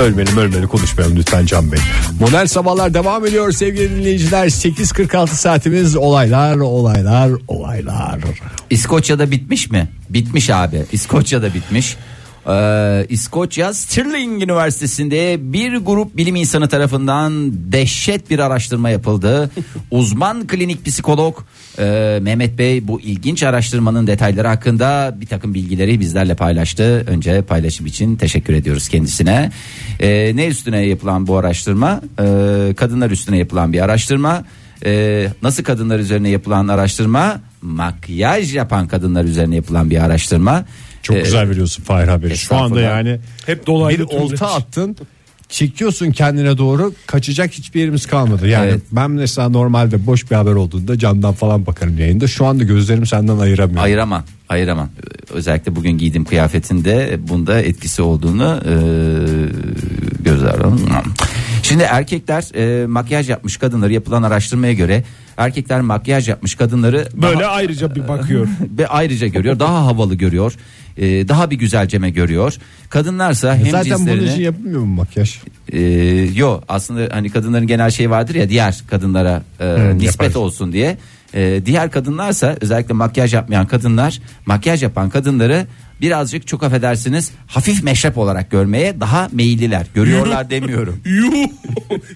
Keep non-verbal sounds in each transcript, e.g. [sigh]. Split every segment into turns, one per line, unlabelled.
Ölmeyelim ölmeyelim konuşmayalım lütfen Can Bey. Modern Sabahlar devam ediyor sevgili dinleyiciler. 8.46 saatimiz olaylar olaylar olaylar.
İskoçya'da bitmiş mi? Bitmiş abi. İskoçya'da bitmiş. Ee, İskoçya Stirling Üniversitesi'nde bir grup bilim insanı tarafından dehşet bir araştırma yapıldı. Uzman klinik psikolog e, Mehmet Bey bu ilginç araştırmanın detayları hakkında bir takım bilgileri bizlerle paylaştı. Önce paylaşım için teşekkür ediyoruz kendisine. Ee, ne üstüne yapılan bu araştırma? Ee, kadınlar üstüne yapılan bir araştırma. Ee, nasıl kadınlar üzerine yapılan araştırma? Makyaj yapan kadınlar üzerine yapılan bir araştırma.
Çok
Ee,
güzel veriyorsun Fahir haberi. Şu anda
estağfurullah.
yani
Hep dolaylı
bir
tümleç.
olta attın. Çekiyorsun kendine doğru kaçacak hiçbir yerimiz kalmadı. Yani
Evet.
ben mesela normalde boş bir haber olduğunda camdan falan bakarım yayında. Şu anda gözlerim senden ayıramıyor.
Ayıramam, ayıramam. Ee, Özellikle bugün giydiğim kıyafetinde e, bunda etkisi olduğunu e, göz ardı. Şimdi erkekler e, makyaj yapmış kadınları yapılan araştırmaya göre erkekler makyaj yapmış kadınları
Böyle
daha- [laughs]
ayrıca bir bakıyor.
ve ayrıca görüyor, daha havalı görüyor. e, daha bir güzelceme görüyor. Kadınlarsa hem
Zaten bunun için
cinslerini
yapılmıyor mu makyaj? [laughs]
Ee, yo aslında hani kadınların genel şeyi vardır ya diğer kadınlara e, nispet
yapar.
olsun diye. Ee, diğer kadınlarsa özellikle makyaj yapmayan kadınlar makyaj yapan kadınları birazcık çok affedersiniz hafif meşrep olarak görmeye daha meyilliler. Görüyorlar demiyorum.
Yuh.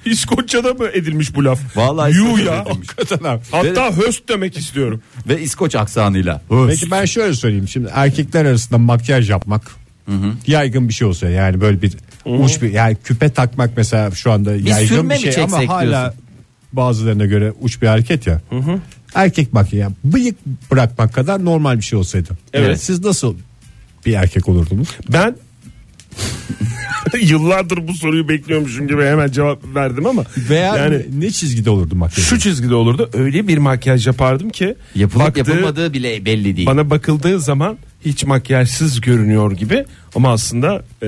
[laughs] İskoçya'da mı edilmiş bu laf?
Vallahi
Yuh
İskoçya'da
ya.
edilmiş.
Hatta höst demek istiyorum.
Ve İskoç aksanıyla.
Peki ben şöyle söyleyeyim şimdi erkekler arasında makyaj yapmak yaygın bir şey olsa yani böyle bir uç bir yani küpe takmak mesela şu anda yaygın
sürme
bir
mi
şey ama
çeksek
hala
diyorsun?
bazılarına göre uç bir hareket ya. Erkek makyajı yani bıyık bırakmak kadar normal bir şey olsaydı.
Evet.
Siz nasıl bir erkek olurdunuz?
Ben [laughs] yıllardır bu soruyu bekliyormuşum gibi hemen cevap verdim ama
Veya
yani
ne çizgide olurdu makyaj?
şu çizgide olurdu. Öyle bir makyaj yapardım ki
Yapılıp
baktığı-
yapılmadığı bile belli değil.
bana bakıldığı zaman hiç makyajsız görünüyor gibi ama aslında e,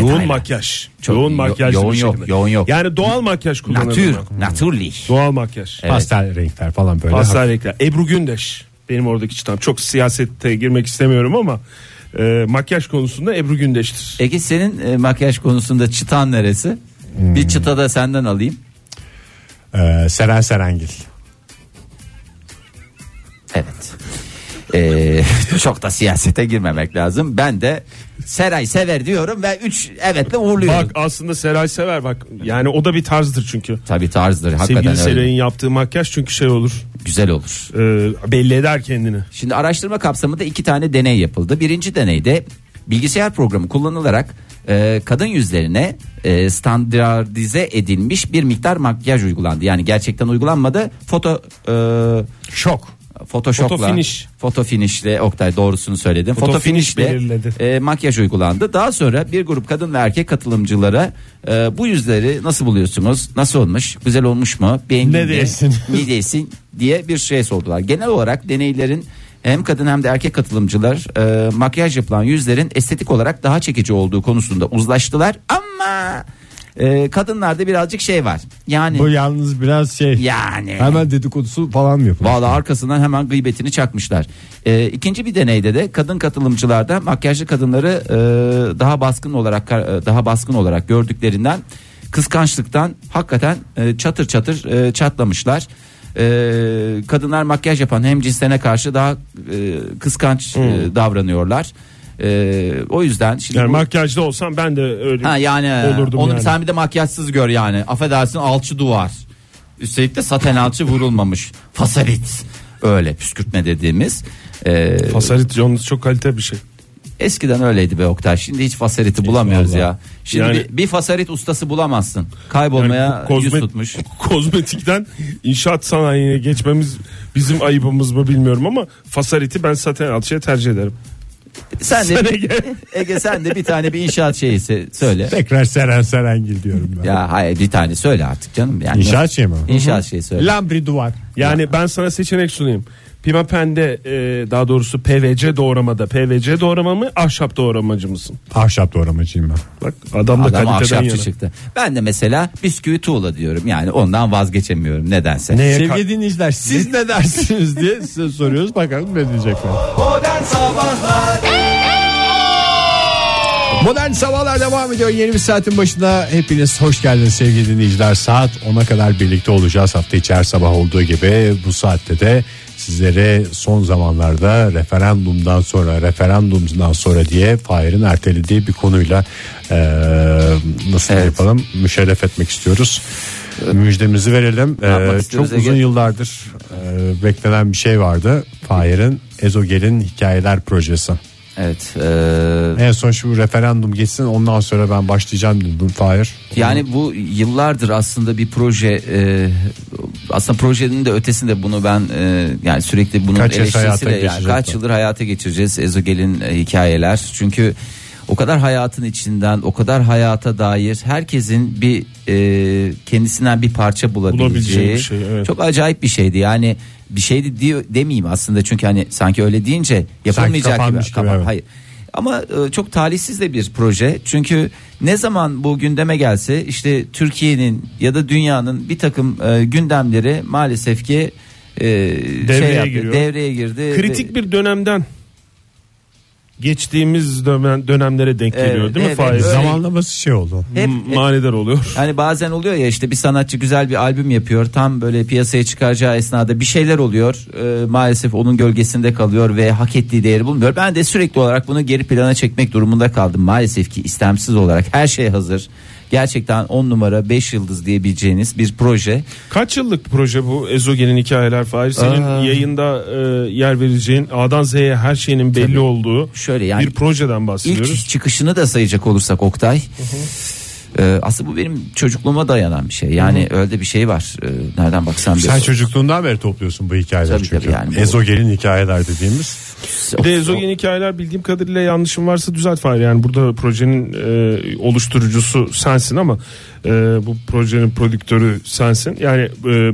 yoğun makyaj.
Çok
yoğun
yo-
makyaj
yoğun
bir
yok,
şekilde.
yoğun yok.
Yani doğal makyaj kullanırdım.
Natür,
ben.
naturlich.
Doğal makyaj.
Pastel renkler falan böyle.
Pastel renkler. Ebru Gündeş benim oradaki çıtam. Çok siyasette girmek istemiyorum ama e, makyaj konusunda Ebru Gündeş'tir.
Ege senin e, makyaj konusunda çıtan neresi?
Hmm.
Bir çıta da senden alayım.
Ee, Seren Serengil.
Evet. Ee, [laughs] çok da siyasete girmemek lazım. Ben de Seray sever diyorum ve 3 evetle uğurluyorum.
Bak aslında Seray Sever bak yani o da bir tarzdır çünkü.
Tabii tarzdır. Hakikaten
Sevgili
öyle.
Seray'ın yaptığı makyaj çünkü şey olur
güzel olur.
e, belli eder kendini.
Şimdi araştırma kapsamında iki tane deney yapıldı. Birinci deneyde bilgisayar programı kullanılarak e, kadın yüzlerine e, standartize edilmiş bir miktar makyaj uygulandı. Yani gerçekten uygulanmadı. Foto e,
Şok.
Photoshop'la
Foto finish.
Foto finish'le Oktay doğrusunu söyledin. Foto,
Foto finish
finish'le
belirledi.
e, makyaj uygulandı. Daha sonra bir grup kadın ve erkek katılımcılara e, bu yüzleri nasıl buluyorsunuz? Nasıl olmuş? Güzel olmuş mu? Beğendin
Ne
mi?
diyorsun?
[laughs] Ne diyorsun? diye bir şey sordular. Genel olarak deneylerin hem kadın hem de erkek katılımcılar e, makyaj yapılan yüzlerin estetik olarak daha çekici olduğu konusunda uzlaştılar. Ama e, kadınlarda birazcık şey var. Yani
Bu yalnız biraz şey.
yani
Hemen dedikodusu falan mı yapılmış?
Valla arkasından hemen gıybetini çakmışlar. Ee, ikinci bir deneyde de kadın katılımcılarda makyajlı kadınları e, daha baskın olarak kar- e, daha baskın olarak gördüklerinden kıskançlıktan hakikaten e, çatır çatır e, çatlamışlar. E, kadınlar makyaj yapan hem cinslerine karşı daha e, kıskanç e, davranıyorlar. E, o yüzden şimdi
Yani
bu-
makyajda olsam ben de öyle
Ha yani
olurdum
onu
yani.
sen bir de makyajsız gör yani. Affedersin alçı duvar. Üstelik de saten alçı vurulmamış. Fasarit. Öyle püskürtme dediğimiz. Ee,
Fasalit yalnız çok kalite bir şey.
eskiden öyleydi be Oktay. Şimdi hiç fasariti bulamıyoruz
vallahi.
ya. Şimdi
Yani-
bir, bir fasarit ustası bulamazsın. Kaybolmaya
Yani
yüz
kozme-
tutmuş.
[laughs] Kozmetikten inşaat sanayine geçmemiz bizim ayıbımız mı bilmiyorum ama fasariti ben zaten alçıya tercih ederim.
Sen de
[laughs] Sen Ege.
Ege sen de bir tane bir inşaat şeyi se- söyle.
Tekrar Seren Serengil diyorum ben.
Ya hayır bir tane söyle artık canım. Yani
İnşaat şeyi mi?
İnşaat şeyi söyle.
Lambri duvar.
Yani ben sana seçenek sunayım. Pimapen'de e, daha doğrusu PVC doğramada PVC doğrama mı ahşap doğramacı mısın?
Ahşap doğramacıyım ben.
Bak adam da
Adam
kaliteden yana.
ahşapçı çıktı. Ben de mesela bisküvi tuğla diyorum. Yani ondan vazgeçemiyorum nedense.
Neye ka-
Sevgili dinleyiciler siz ne dersiniz diye size soruyoruz bakalım ne diyecekler. Modern Sabahlar devam ediyor. Yeni bir saatin başında hepiniz hoş geldiniz sevgili dinleyiciler. Saat 10'a kadar birlikte olacağız. Hafta içi her sabah olduğu gibi bu saatte de sizlere son zamanlarda referandumdan sonra referandumdan sonra diye Fahir'in ertelediği bir konuyla eee, nasıl
Evet.
yapalım müşerref etmek istiyoruz. Müjdemizi verelim.
yapmak
Eee,
istiyoruz
çok uzun
Ege?
yıllardır eee, beklenen bir şey vardı. Fahir'in Ezogel'in hikayeler projesi.
Evet. e,
En son şu referandum geçsin ondan sonra ben başlayacağım dedim Fahir.
Yani bu yıllardır aslında bir proje e, aslında projenin de ötesinde bunu ben e, yani sürekli bunun
Kaç yaş hayata
eleştirisiyle yani
geçecek
kaç
bu?
yıldır hayata geçireceğiz Ezogel'in e, hikayeler. Çünkü o kadar hayatın içinden o kadar hayata dair herkesin bir e, kendisinden bir parça bulabileceği
Bulabileceği bir şey, evet.
çok acayip bir şeydi. Yani bir şeydi diyor demeyeyim aslında çünkü hani sanki öyle deyince yapılmayacak
kapanmış gibi,
Kapa-
evet.
hayır. Ama e, çok talihsiz de bir proje. Çünkü ne zaman bu gündeme gelse işte Türkiye'nin ya da dünyanın bir takım e, gündemleri maalesef ki e,
Devreye
yaptı,
giriyor.
devreye girdi.
Kritik
Ve-
bir dönemden geçtiğimiz dönem, dönemlere denk
Evet,
geliyor değil mi
evet,
Faiz?
öyle.
Zamanlaması şey oldu.
hep,
M- manidar oluyor. [laughs]
Hani bazen oluyor ya işte bir sanatçı güzel bir albüm yapıyor. Tam böyle piyasaya çıkaracağı esnada bir şeyler oluyor. Ee, maalesef onun gölgesinde kalıyor ve hak ettiği değeri bulmuyor. Ben de sürekli olarak bunu geri plana çekmek durumunda kaldım. Maalesef ki istemsiz olarak her şey hazır. Gerçekten 10 numara 5 yıldız diyebileceğiniz bir proje.
Kaç yıllık proje bu Ezogel'in hikayeler Faiz? Senin
Aa.
yayında e, yer vereceğin A'dan Z'ye her şeyinin belli olduğu
Şöyle yani
bir projeden bahsediyoruz.
İlk çıkışını da sayacak olursak Oktay. Ee, aslında bu benim çocukluğuma dayanan bir şey. Yani öyle bir şey var. Ee, nereden baksan
Sen çocukluğundan beri topluyorsun bu hikayeler
Tabii,
çünkü.
tabii yani bu-
Ezogel'in hikayeler dediğimiz.
Bir de Ezogen hikayeler bildiğim kadarıyla yanlışım varsa düzelt Fahri. Yani burada projenin e, oluşturucusu sensin ama e, bu projenin prodüktörü sensin. Yani e,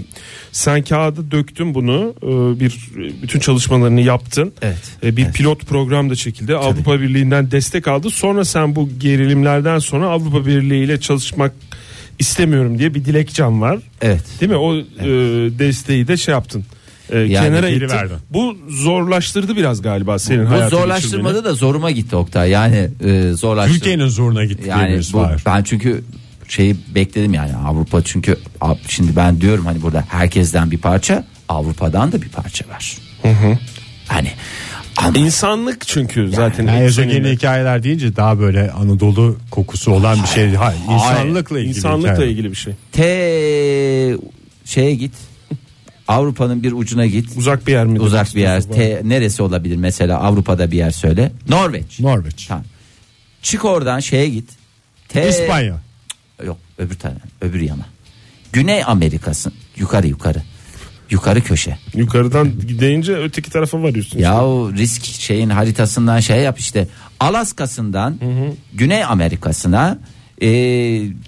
sen kağıda döktün bunu e, bir bütün çalışmalarını yaptın.
Evet.
E, bir
Evet.
pilot program da çekildi. Avrupa Birliği'nden destek aldı. Sonra sen bu gerilimlerden sonra Avrupa Birliği ile çalışmak istemiyorum diye bir dilekçen var.
Evet.
Değil mi? O e, desteği de şey yaptın. E,
Yani
kenara
geri
ittin.
verdin.
Bu zorlaştırdı biraz galiba senin
Bu
hayatı
zorlaştırmada
geçirmeni.
da zoruma gitti Oktay. Yani e, zorlaştırma.
Türkiye'nin zoruna gitti
yani
diyebiliriz
bu,
Fahir.
ben çünkü şeyi bekledim yani Avrupa çünkü a- şimdi ben diyorum hani burada herkesten bir parça Avrupa'dan da bir parça var. Hani ama
İnsanlık çünkü zaten.
Yani
senin-
Ezogel'in hikayeler deyince daha böyle Anadolu kokusu olan bir şey. Hayır, insanlıkla ilgili.
insanlıkla
hikayeler.
ilgili bir şey.
te şeye git. Avrupa'nın bir ucuna git.
Uzak bir yer mi?
Uzak bir yer. Te, neresi olabilir mesela Avrupa'da bir yer söyle. Norveç.
Norveç.
Tamam. Çık oradan şeye git. Te-
İspanya.
Yok öbür tane öbür yana. Güney Amerika'sın yukarı yukarı. Yukarı köşe.
Yukarıdan gidince öteki tarafa varıyorsun.
Ya o risk şeyin haritasından şey yap işte. Alaska'sından Güney Amerika'sına e,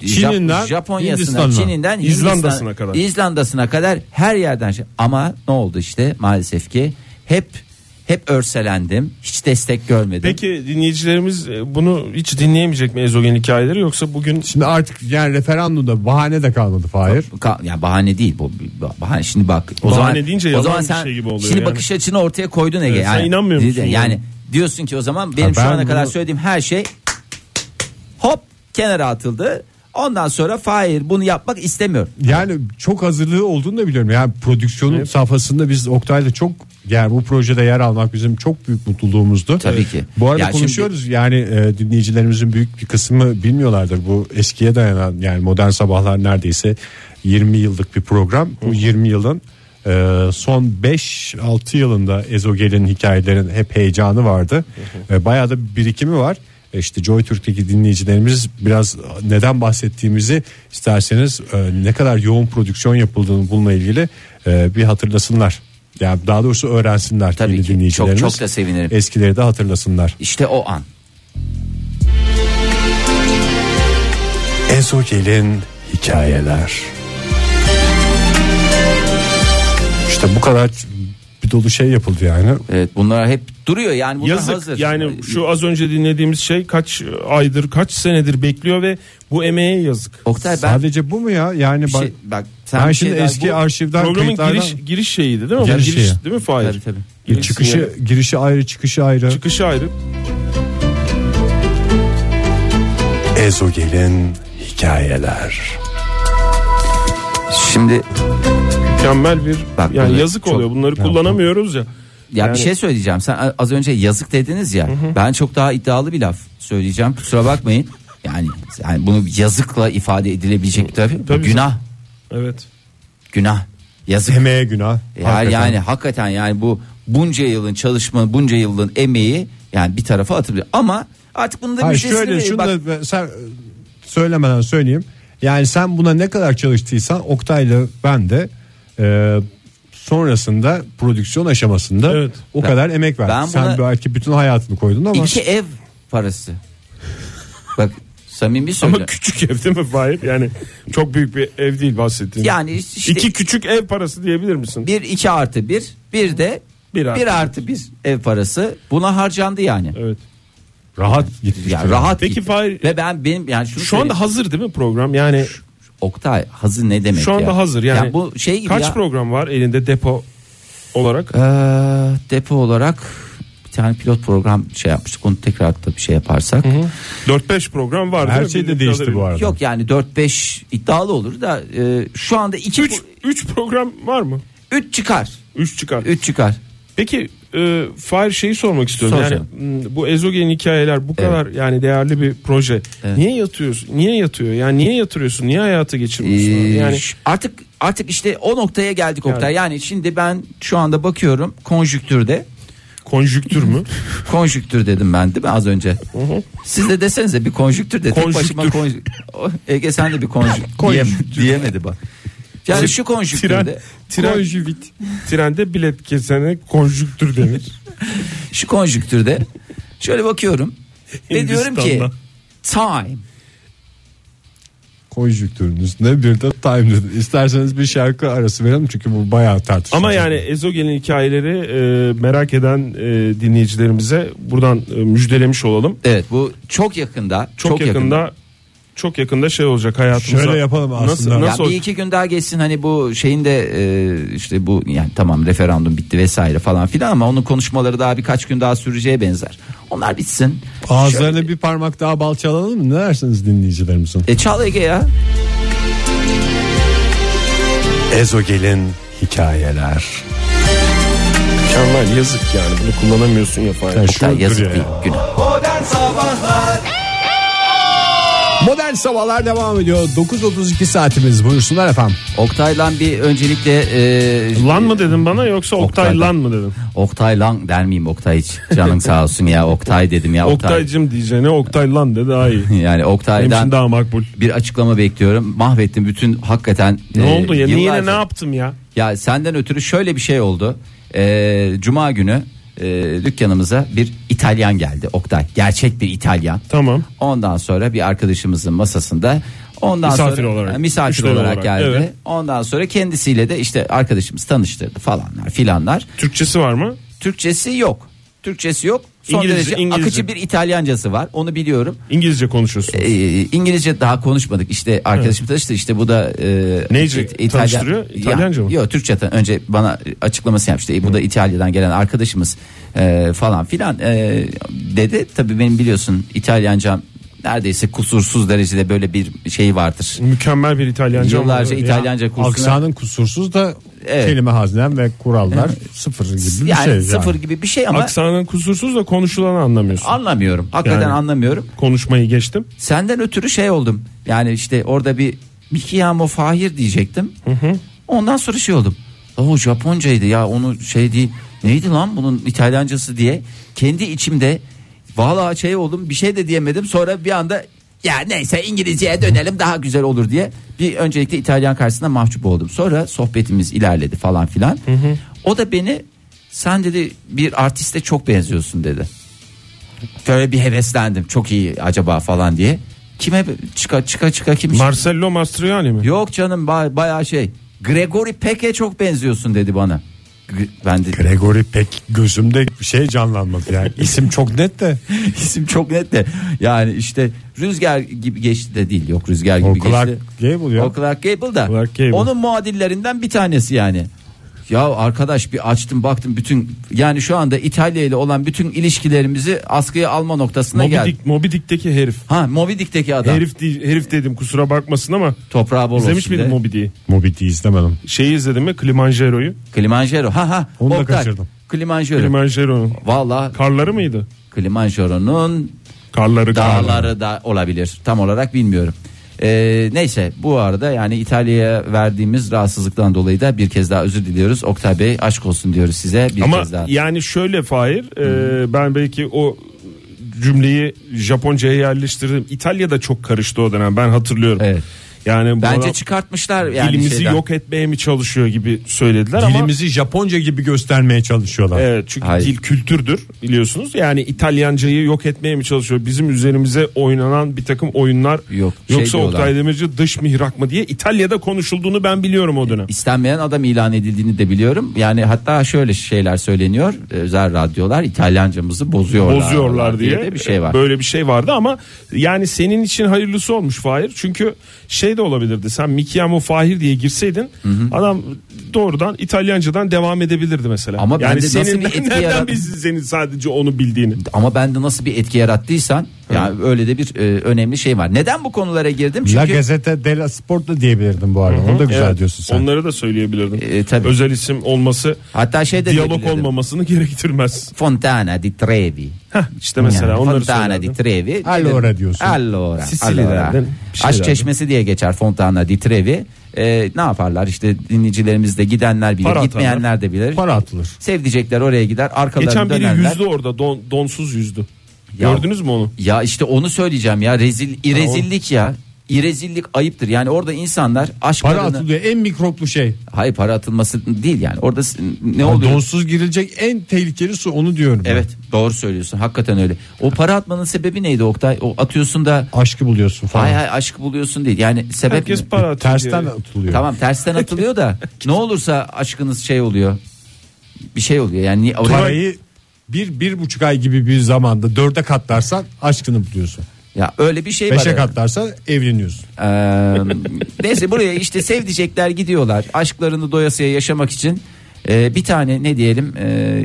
Çin'inden
Jap- Japonya'sına,
Hindistan'ına,
Çin'inden
İzlanda'sına
Hindistan-
kadar.
İzlanda'sına kadar her yerden şey. Ama ne oldu işte maalesef ki hep hep örselendim. Hiç destek görmedim.
Peki dinleyicilerimiz e, bunu hiç dinleyemeyecek mi Ezogen hikayeleri yoksa bugün
Şimdi artık yani referandumda bahane de kalmadı Fahir.
Ka- ya bahane değil bu bahane şimdi bak o
Bahane
zaman
deyince
o
yalan
zaman
bir
sen
şey gibi oluyor
şimdi
yani.
bakış açını ortaya koydun Ege
Evet, sen
yani,
inanmıyor musun
yani?
yani?
diyorsun ki o zaman benim
Ha,
şu
ben
ana kadar
bunu-
söylediğim her şey hop kenara atıldı ondan sonra Fahir bunu yapmak istemiyor
Yani çok hazırlığı olduğunu da biliyorum. Yani prodüksiyonun safhasında biz Oktay'la çok yani bu projede yer almak bizim çok büyük mutluluğumuzdu.
Tabii ki.
Bu arada
Yani
konuşuyoruz. Yani e, dinleyicilerimizin büyük bir kısmı bilmiyorlardır. Bu eskiye dayanan yani modern sabahlar neredeyse 20 yıllık bir program. Bu 20 yılın e, son 5-6 yılında Ezogel'in hikayelerin hep heyecanı vardı. E, bayağı da bir birikimi var. E, İşte Joy Türk'teki dinleyicilerimiz biraz neden bahsettiğimizi isterseniz e, ne kadar yoğun prodüksiyon yapıldığını bununla ilgili e, bir hatırlasınlar. Yani daha doğrusu öğrensinler
Tabii
yeni
ki. Çok-
dinleyicilerimiz.
çok da sevinirim.
Eskileri de hatırlasınlar.
işte o an
Ezogel'in hikayeler. İşte bu kadar bir dolu şey yapıldı yani.
evet bunlar hep duruyor yani bunlar
yazık
hazır
yani şu az önce dinlediğimiz şey kaç aydır kaç senedir bekliyor ve bu emeğe yazık.
Oktay ben
Sadece bu mu ya? Yani
bir
bak,
şey, bak sen
ben
bir
şimdi
şey daha-
eski
bu-
arşivden
Programın
kayıtlardan
giriş giriş şeyiydi değil mi?
Giriş
Giriş,
şeyi.
değil mi Fahir?
Tabii, tabii.
Girişi
çıkışı
yeri.
girişi ayrı çıkışı ayrı.
çıkışı ayrı.
Ezogel'in hikayeler.
Şimdi
Mükemmel bir
Bak,
yani
bunu
yazık
çok-
oluyor. Bunları kullanamıyoruz ya.
Ya
Yani-
bir şey söyleyeceğim. Sen az önce yazık dediniz ya. Ben çok daha iddialı bir laf söyleyeceğim. Kusura bakmayın. Yani, yani bunu yazıkla ifade edilebilecek tabii.
Tabii.
Günah,
Evet.
günah. Yazık.
Emeğe günah.
Yani
Hakikaten.
yani hakikaten yani bu bunca yılın çalışma, bunca yılın emeği yani bir tarafa atılıyor. Ama artık bunun da
Hayır,
müjdesini
şöyle
verin.
şunu
Bak,
da ben- sen e, söylemeden söyleyeyim. Yani sen buna ne kadar çalıştıysan Oktay'la ben de e, sonrasında prodüksiyon aşamasında
Evet.
o kadar emek verdin.
ben
sen
buna-
belki bütün hayatını koydun ama
iki ev parası. Bak samimi
Ama
söylüyorum.
küçük ev değil mi Fahir? Yani çok büyük bir ev değil bahsettiğin.
Yani işte
İki küçük ev parası diyebilir misin?
bir iki artı bir bir de
Bir
bir
artı
artı,
bir.
bir, ev parası buna harcandı yani.
Evet.
rahat gitti.
Ya rahat
Peki
gitti.
Fahir-
ve ben benim yani şunu
Şu anda
söyleyeyim.
hazır değil mi program? Yani
Oktay hazır ne demek
şu anda
ya?
hazır yani.
Ya bu şey gibi
Kaç
ya.
program var elinde depo olarak?
Ee, depo olarak bir tane pilot program şey yapmıştık. Onu tekrar da bir şey yaparsak.
4-5 program var.
Her şey de değişti bu arada.
Yok yani 4-5 iddialı olur da e, şu anda 2
3 3 program var mı?
3 çıkar.
3 çıkar.
3 çıkar.
Peki e, Fahir şeyi sormak istiyorum.
Sor
yani
canım.
m, bu ezogen hikayeler bu kadar yani değerli bir proje.
Evet.
Niye yatıyorsun? Niye yatıyor? Yani niye yatırıyorsun? Niye hayata geçirmiyorsun?
Ee,
yani
ş- artık artık işte o noktaya geldik
Yani.
Oktay. Yani şimdi ben şu anda bakıyorum konjüktürde.
konjüktür mü?
Konjüktür dedim ben değil mi az önce? Siz de desenize bir konjüktür de. Tek başıma
Konjüktür.
konjü- Ege sen de bir konjüktür,
[laughs] Konjüktür.
diyemedi bak. Yani şu
Tren,
konjüktürde
tren, Trende bilet kesene konjüktür denir.
şu konjüktürde şöyle bakıyorum ve diyorum ki
Hindistan'da.
time
Konjüktürün üstüne bir de time dedi. İsterseniz bir şarkı arası verelim çünkü bu bayağı tartışılacak.
Ama yani ezogelin hikayeleri e, merak eden e, dinleyicilerimize buradan e, müjdelemiş olalım.
evet bu çok yakında
Çok, yakında, çok yakında şey olacak hayatımıza.
Şöyle yapalım aslında.
Nasıl,
Ya
nasıl
bir iki gün daha geçsin hani bu şeyin de e, işte bu yani tamam referandum bitti vesaire falan filan ama onun konuşmaları daha birkaç gün daha süreceğe benzer. Onlar bitsin.
Ağızlarına bir parmak daha bal çalalım mı? Ne dersiniz dinleyicilerimizin?
E çal Ege ya.
Ezogel'in hikayeler.
Mükemmel yazık yani bunu kullanamıyorsun ya Fahir.
Yani
Oktay,
şu
yazık
duruyor
değil
ya.
günah.
Modern sabahlar devam ediyor. 9.32 saatimiz buyursunlar efendim.
Oktay lan bir öncelikle e,
Lan mı dedim bana yoksa Oktay,
Oktay'dan.
lan mı dedim?
Oktay lan der miyim Oktay hiç canın sağ olsun ya Oktay dedim ya Oktay.
Oktaycım diyeceğine Oktay lan de daha iyi.
[laughs] Yani
Benim için
Oktay'dan
daha makbul.
bir açıklama bekliyorum. Mahvettim bütün hakikaten.
Ne
e,
oldu ya? Yine
yıllarca-
ne yaptım ya?
Ya senden ötürü şöyle bir şey oldu. E, Cuma günü e, dükkanımıza bir İtalyan geldi Oktay. Gerçek bir İtalyan.
Tamam.
Ondan sonra bir arkadaşımızın masasında ondan
Misafir
sonra
olarak.
Ha, misafir
Müşteri
olarak,
olarak,
geldi.
evet.
Ondan sonra kendisiyle de işte arkadaşımız tanıştırdı falanlar filanlar.
Türkçesi var mı?
Türkçesi yok. Türkçesi yok. Son
İngilizce,
derece
İngilizce.
akıcı bir İtalyancası var. Onu biliyorum.
İngilizce konuşuyorsun.
Ee, İngilizce daha konuşmadık. İşte arkadaşım tanıştı işte bu da e,
Neyce
İt- İtalyan-
tanıştırıyor? İtalyanca
Ya-
mı?
Yok Türkçe tan- önce bana açıklaması yapmıştı. E, bu da İtalya'dan gelen arkadaşımız e, falan filan e, dedi. Tabii benim biliyorsun İtalyancam neredeyse kusursuz derecede böyle bir şey vardır.
Mükemmel bir İtalyanca. ama-
Yıllarca
Ya,
İtalyanca kursuna
Aksanın kusursuz da
Evet.
kelime hazinem ve kurallar sıfır gibi bir
yani
şey.
sıfır
yani.
gibi bir şey ama
Aksanın kusursuz da konuşulanı anlamıyorsun.
anlamıyorum. Hakikaten
Yani.
anlamıyorum.
Konuşmayı geçtim.
Senden ötürü şey oldum. Yani işte orada bir Mikiyamo Fahir diyecektim. Ondan sonra şey oldum. O Japoncaydı ya onu şey değil. Neydi lan bunun İtalyancası diye. Kendi içimde vallahi şey oldum bir şey de diyemedim. Sonra bir anda ya neyse İngilizceye dönelim daha güzel olur diye. Bir öncelikle İtalyan karşısında mahcup oldum. Sonra sohbetimiz ilerledi falan filan. O da beni sen dedi bir artiste çok benziyorsun dedi böyle bir heveslendim. Çok iyi acaba falan diye. Kime çıka çıka çıka kim?
Marcello Mastroianni mi?
Yok canım ba- bayağı şey. Gregory Peck'e çok benziyorsun dedi bana. G- ben de
Gregory pek gözümde bir şey
[laughs]
canlanmadı yani. İsim çok net de
isim çok net de. Yani işte rüzgar gibi geçti de değil. Yok rüzgar gibi
o Clark
geçti.
Gable ya.
O Clark Gable da.
Clark Gable.
Onun muadillerinden bir tanesi yani. Ya arkadaş bir açtım baktım bütün yani şu anda İtalya ile olan bütün ilişkilerimizi askıya alma noktasına
Moby,
geldik.
Dick, Moby Dick'teki herif.
Ha Moby Dick'teki adam.
Herif, değil, herif dedim kusura bakmasın ama
Toprağı bol
izlemiş
olsun
miydin
de.
Moby Dick'i?
Moby Dick'i izlemedim.
Şeyi izledin mi? Kilimanjaro'yu.
Kilimanjaro. Ha ha.
Onu da
Oktay.
kaçırdım.
Kilimanjaro.
Kilimanjaro'nun.
Valla
Karları mıydı?
Kilimanjaro'nun
Karları karları.
dağları da olabilir. Tam olarak bilmiyorum. Ee, neyse bu arada yani İtalya'ya verdiğimiz rahatsızlıktan dolayı da bir kez daha özür diliyoruz. Oktay Bey aşk olsun diyoruz size bir
Ama
kez daha.
yani şöyle Fahir e, ben belki o cümleyi Japonca'ya yerleştirdim. İtalya'da çok karıştı o dönem ben hatırlıyorum.
Evet.
Yani bu
Bence
adam
çıkartmışlar yani
dilimizi
şeyden.
yok etmeye mi çalışıyor gibi söylediler ama
Dilimizi Japonca gibi göstermeye çalışıyorlar.
Evet çünkü
Hayır.
dil kültürdür biliyorsunuz. Yani İtalyancayı yok etmeye mi çalışıyor? Bizim üzerimize oynanan bir takım oyunlar
Yok, şey
yoksa
diyorlar.
Oktay Demirci dış mihrak mı diye İtalya'da konuşulduğunu ben biliyorum o dönem.
İstenmeyen adam ilan edildiğini de biliyorum. Yani hatta şöyle şeyler söyleniyor. Ee, Özel radyolar İtalyancamızı bozuyorlar.
bozuyorlar diye,
de bir şey var.
Böyle bir şey vardı ama yani senin için hayırlısı olmuş Fahir. Çünkü şey de olabilirdi. Sen Mikiamo Fahir diye girseydin adam doğrudan İtalyancadan devam edebilirdi mesela.
Ama
yani
bende nasıl
senin
bir etki
nereden
yarattı?
bilsin senin sadece onu bildiğini.
Ama bende nasıl bir etki yarattıysan yani öyle de bir e, önemli şey var. Neden bu konulara girdim?
La
Çünkü
Gazzetta della Sport da diyebilirdim bu arada. Onu da güzel
Evet,
diyorsun sen.
Onları da söyleyebilirdim.
E, tabii.
Özel isim olması
hatta şey de
diyalog
diyebilirdim.
olmamasını gerektirmez.
Fontana di Trevi.
Heh, işte mesela
Yani
onları
Fontana di
söylerdim.
Trevi.
Allora diyorsun.
Allora.
Sicilya'dan
allora.
bir şey
Aşk
derdim.
çeşmesi diye geçer Fontana di Trevi. E, ne yaparlar işte dinleyicilerimiz de gidenler bilir,
Para
gitmeyenler de bilir.
Para atılır.
Sevdicekler oraya gider, arkalarına
Geçen biri
dönerler.
yüzdü orada don, donsuz yüzdü.
Ya-
Gördünüz mü onu?
Ya işte onu söyleyeceğim ya rezil irezillik ya. İrezillik ayıptır. Yani orada insanlar aşklarını
Para atılıyor en mikroplu şey.
Hayır para atılması değil yani. Orada s- ne
Yani
oluyor?
donsuz girilecek en tehlikeli su onu diyorum. ben.
Evet doğru söylüyorsun. Hakikaten öyle. O para atmanın sebebi neydi Oktay? O atıyorsun da
Aşkı buluyorsun falan.
hay hay aşk buluyorsun değil. Yani sebep
Herkes
ne?
para atıyor.
Tersten
diye.
atılıyor.
Tamam tersten atılıyor da ne olursa aşkınız şey oluyor. Bir şey oluyor. Yani niye- oraya-
Parayı bir, bir buçuk ay gibi bir zamanda dörde katlarsan aşkını buluyorsun.
ya öyle bir şey var.
Beşe
yani.
katlarsan evleniyorsun.
Ee, neyse buraya işte sevdicekler gidiyorlar. Aşklarını doyasıya yaşamak için Ee, bir tane ne diyelim ee,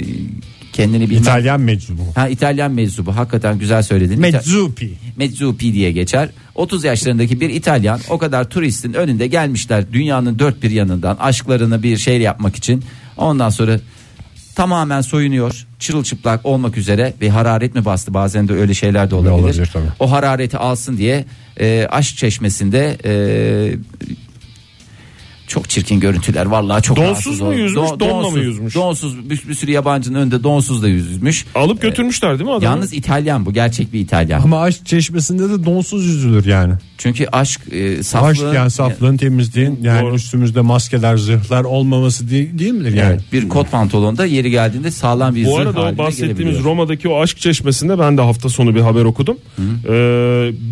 kendini bilmem.
İtalyan meczubu.
ha İtalyan meczubu hakikaten güzel söyledin. İta-
Meczupi.
Mezzupi diye geçer. 30 yaşlarındaki bir İtalyan o kadar turistin önünde gelmişler dünyanın dört bir yanından aşklarını bir şey yapmak için. Ondan sonra tamamen soyunuyor çırılçıplak olmak üzere ve hararet mi bastı bazen de öyle şeyler de olabilir.
Olabilir tabii.
O harareti alsın diye e, aşk çeşmesinde e, çok çirkin görüntüler vallahi çok
Donsuz
rahatsız
mu
oldum.
yüzmüş, donla mı
donsuz,
yüzmüş?
Donsuz bir, bir sürü yabancının önünde donsuz da yüzmüş.
Alıp götürmüşler değil mi adamı?
Yalnız İtalyan bu gerçek bir İtalyan.
Ama aşk çeşmesinde de donsuz yüzülür yani.
Çünkü aşk e, saflığın
Aşk yani saflığın temizliğin yani
Doğru.
üstümüzde maskeler zırhlar olmaması değil, değil midir yani?
Evet, e, bir kot pantolonda yeri geldiğinde sağlam bir
Bu
zırh
arada o
haline
bahsettiğimiz
gelebiliyor.
Roma'daki o aşk çeşmesinde ben de hafta sonu bir haber okudum. Ee,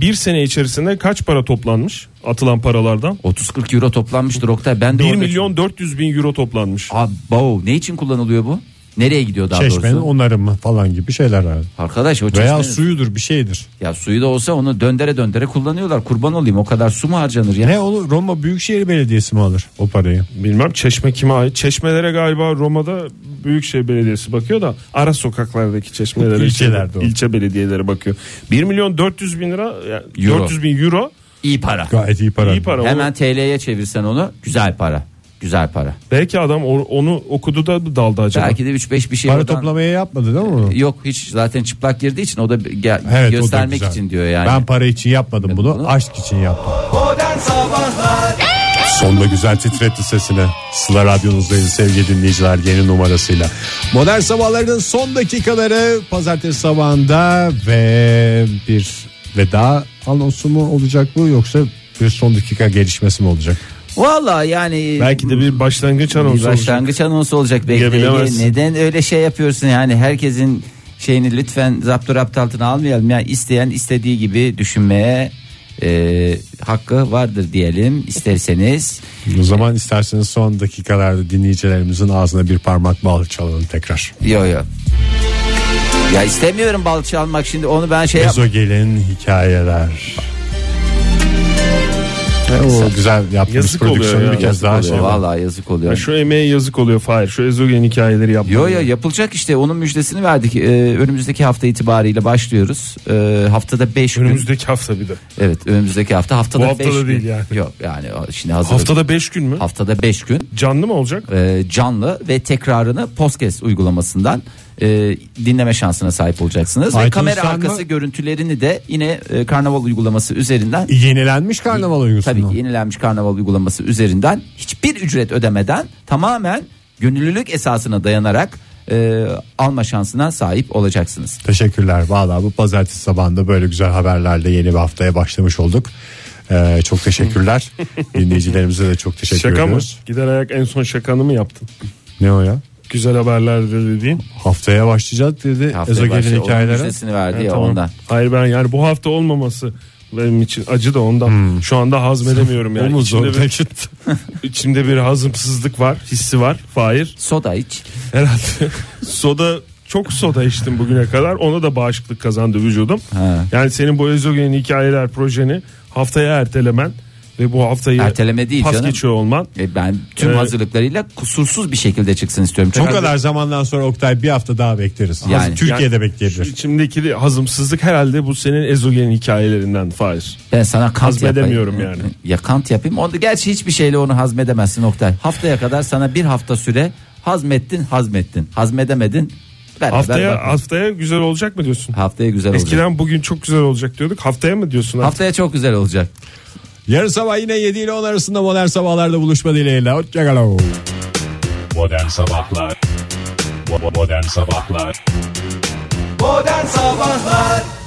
bir sene içerisinde kaç para toplanmış atılan paralardan?
30-40 euro toplanmıştır Oktay. Ben de
1
orada-
milyon 400 bin euro toplanmış.
Abo, ne için kullanılıyor bu? Nereye gidiyor daha
Çeşmenin
doğrusu?
onarımı falan gibi şeyler herhalde.
Arkadaş o çeşmenin...
Veya suyudur bir şeydir.
Ya suyu da olsa onu döndere döndere kullanıyorlar. Kurban olayım o kadar su mu harcanır ya?
Ne olur Roma Büyükşehir Belediyesi mi alır o parayı?
Bilmem çeşme kime ait? Çeşmelere galiba Roma'da Büyükşehir Belediyesi bakıyor da ara sokaklardaki çeşmelere
İlçelerde o.
ilçe belediyeleri bakıyor. 1 milyon 400 bin lira yani
Euro.
400 bin euro
İyi para.
Gayet iyi para.
iyi para. Onu-
Hemen TL'ye çevirsen onu güzel para. Güzel para.
belki adam o- onu okudu da daldı acaba.
Belki de 3-5 bir şey
Para
oradan-
toplamaya yapmadı değil mi onu?
Yok hiç zaten çıplak girdiği için o da ge-
Evet, o da
göstermek
güzel.
için diyor yani.
Ben para için yapmadım bunu,
bunu-
aşk için yaptım. Sonunda güzel titretti sesini. Sıla radyonuzdayız sevgili dinleyiciler yeni numarasıyla. Modern sabahların son dakikaları pazartesi sabahında ve bir veda anonsu mu olacak bu yoksa bir son dakika gelişmesi mi olacak?
Vallahi yani
Belki de bir başlangıç
Bir
anonsu olacak.
başlangıç anonsu olacak bekleyin.
Bilemezsin.
Neden öyle şey yapıyorsun yani herkesin şeyini lütfen zapturapt altına almayalım. Yani isteyen istediği gibi düşünmeye e, hakkı vardır diyelim isterseniz.
O zaman isterseniz son dakikalarda dinleyicilerimizin ağzına bir parmak bal çalalım tekrar.
Yo yo. Ya istemiyorum balçı almak şimdi onu ben şey yap.
Ezogelin hikayeler. o güzel yaptığımız
Yazık
prodüksiyonu
oluyor
bir
ya,
kez
yazık
daha
Oluyor,
şey yapalım.
Vallahi yazık oluyor.
Ya şu emeğe yazık oluyor Fahir. Şu ezogen hikayeleri yapmak.
Yo yo yapılacak işte onun müjdesini verdik. Ee, önümüzdeki hafta itibariyle başlıyoruz. Ee, haftada 5 gün.
Önümüzdeki hafta bir de.
Evet önümüzdeki hafta haftada 5
haftada
gün.
değil yani.
Yok yani şimdi hazır.
Haftada 5 gün mü?
Haftada 5 gün
Canlı mı olacak?
e, canlı ve tekrarını podcast uygulamasından e, dinleme şansına sahip olacaksınız. Ve
iTunes'tan
kamera
mı?
arkası görüntülerini de yine e, karnaval uygulaması üzerinden
Yenilenmiş karnaval
Tabii
uygusunu.
ki yenilenmiş karnaval uygulaması üzerinden hiçbir ücret ödemeden tamamen gönüllülük esasına dayanarak e, alma şansına sahip olacaksınız.
Teşekkürler. Vallahi bu pazartesi sabahında böyle güzel haberlerle yeni bir haftaya başlamış olduk. Ee, çok teşekkürler.
[laughs]
Dinleyicilerimize de çok teşekkür
Şaka mı?
ediyoruz.
Gider ayak en son şakanı mı yaptın?
Ne o ya?
Güzel haberler de dediğin.
Haftaya başlayacağız dedi.
Haftaya başlıyor.
Ezogelin
Onun
hikayelere.
müjdesini verdi
Ha,
ya
tamam.
ondan.
Hayır ben yani bu hafta olmaması benim için acı da ondan.
Hmm.
Şu anda hazmedemiyorum yani.
Omuz
İçimde
orada
bir,
gitti.
içimde bir hazımsızlık var, hissi var. Fahir
Soda iç.
herhalde soda çok soda içtim bugüne kadar. Ona da bağışıklık kazandı vücudum.
Ha.
Yani senin bu ezogen hikayeler projeni haftaya ertelemen ve bu haftayı
Erteleme değil
pas
canım.
geçiyor olman.
E, ben tüm
Evet.
hazırlıklarıyla kusursuz bir şekilde çıksın istiyorum.
Bu
Çok
kadar zamandan sonra Oktay bir hafta daha bekleriz.
Yani-
Hazır Türkiye'de bekleyebilir.
İçimdeki de hazımsızlık herhalde bu senin ezogen hikayelerinden Fahir.
ben sana kant
Hazmedemiyorum
yapayım. E,
yani.
Ya kant yapayım. Onda gerçi hiçbir şeyle onu hazmedemezsin Oktay. Haftaya kadar sana bir hafta süre hazmettin, hazmettin. Hazmedemedin. beraber
Haftaya
bakın.
haftaya güzel olacak mı diyorsun?
haftaya güzel olacak.
Eskiden bugün çok güzel olacak diyorduk. Haftaya mı diyorsun? artık?
Haftaya çok güzel olacak.
Yarın sabah yine 7 ile 10 arasında modern sabahlarda buluşma dileğiyle. Hoşçakalın.
Modern Sabahlar Bo- bo- Modern Sabahlar
Modern Sabahlar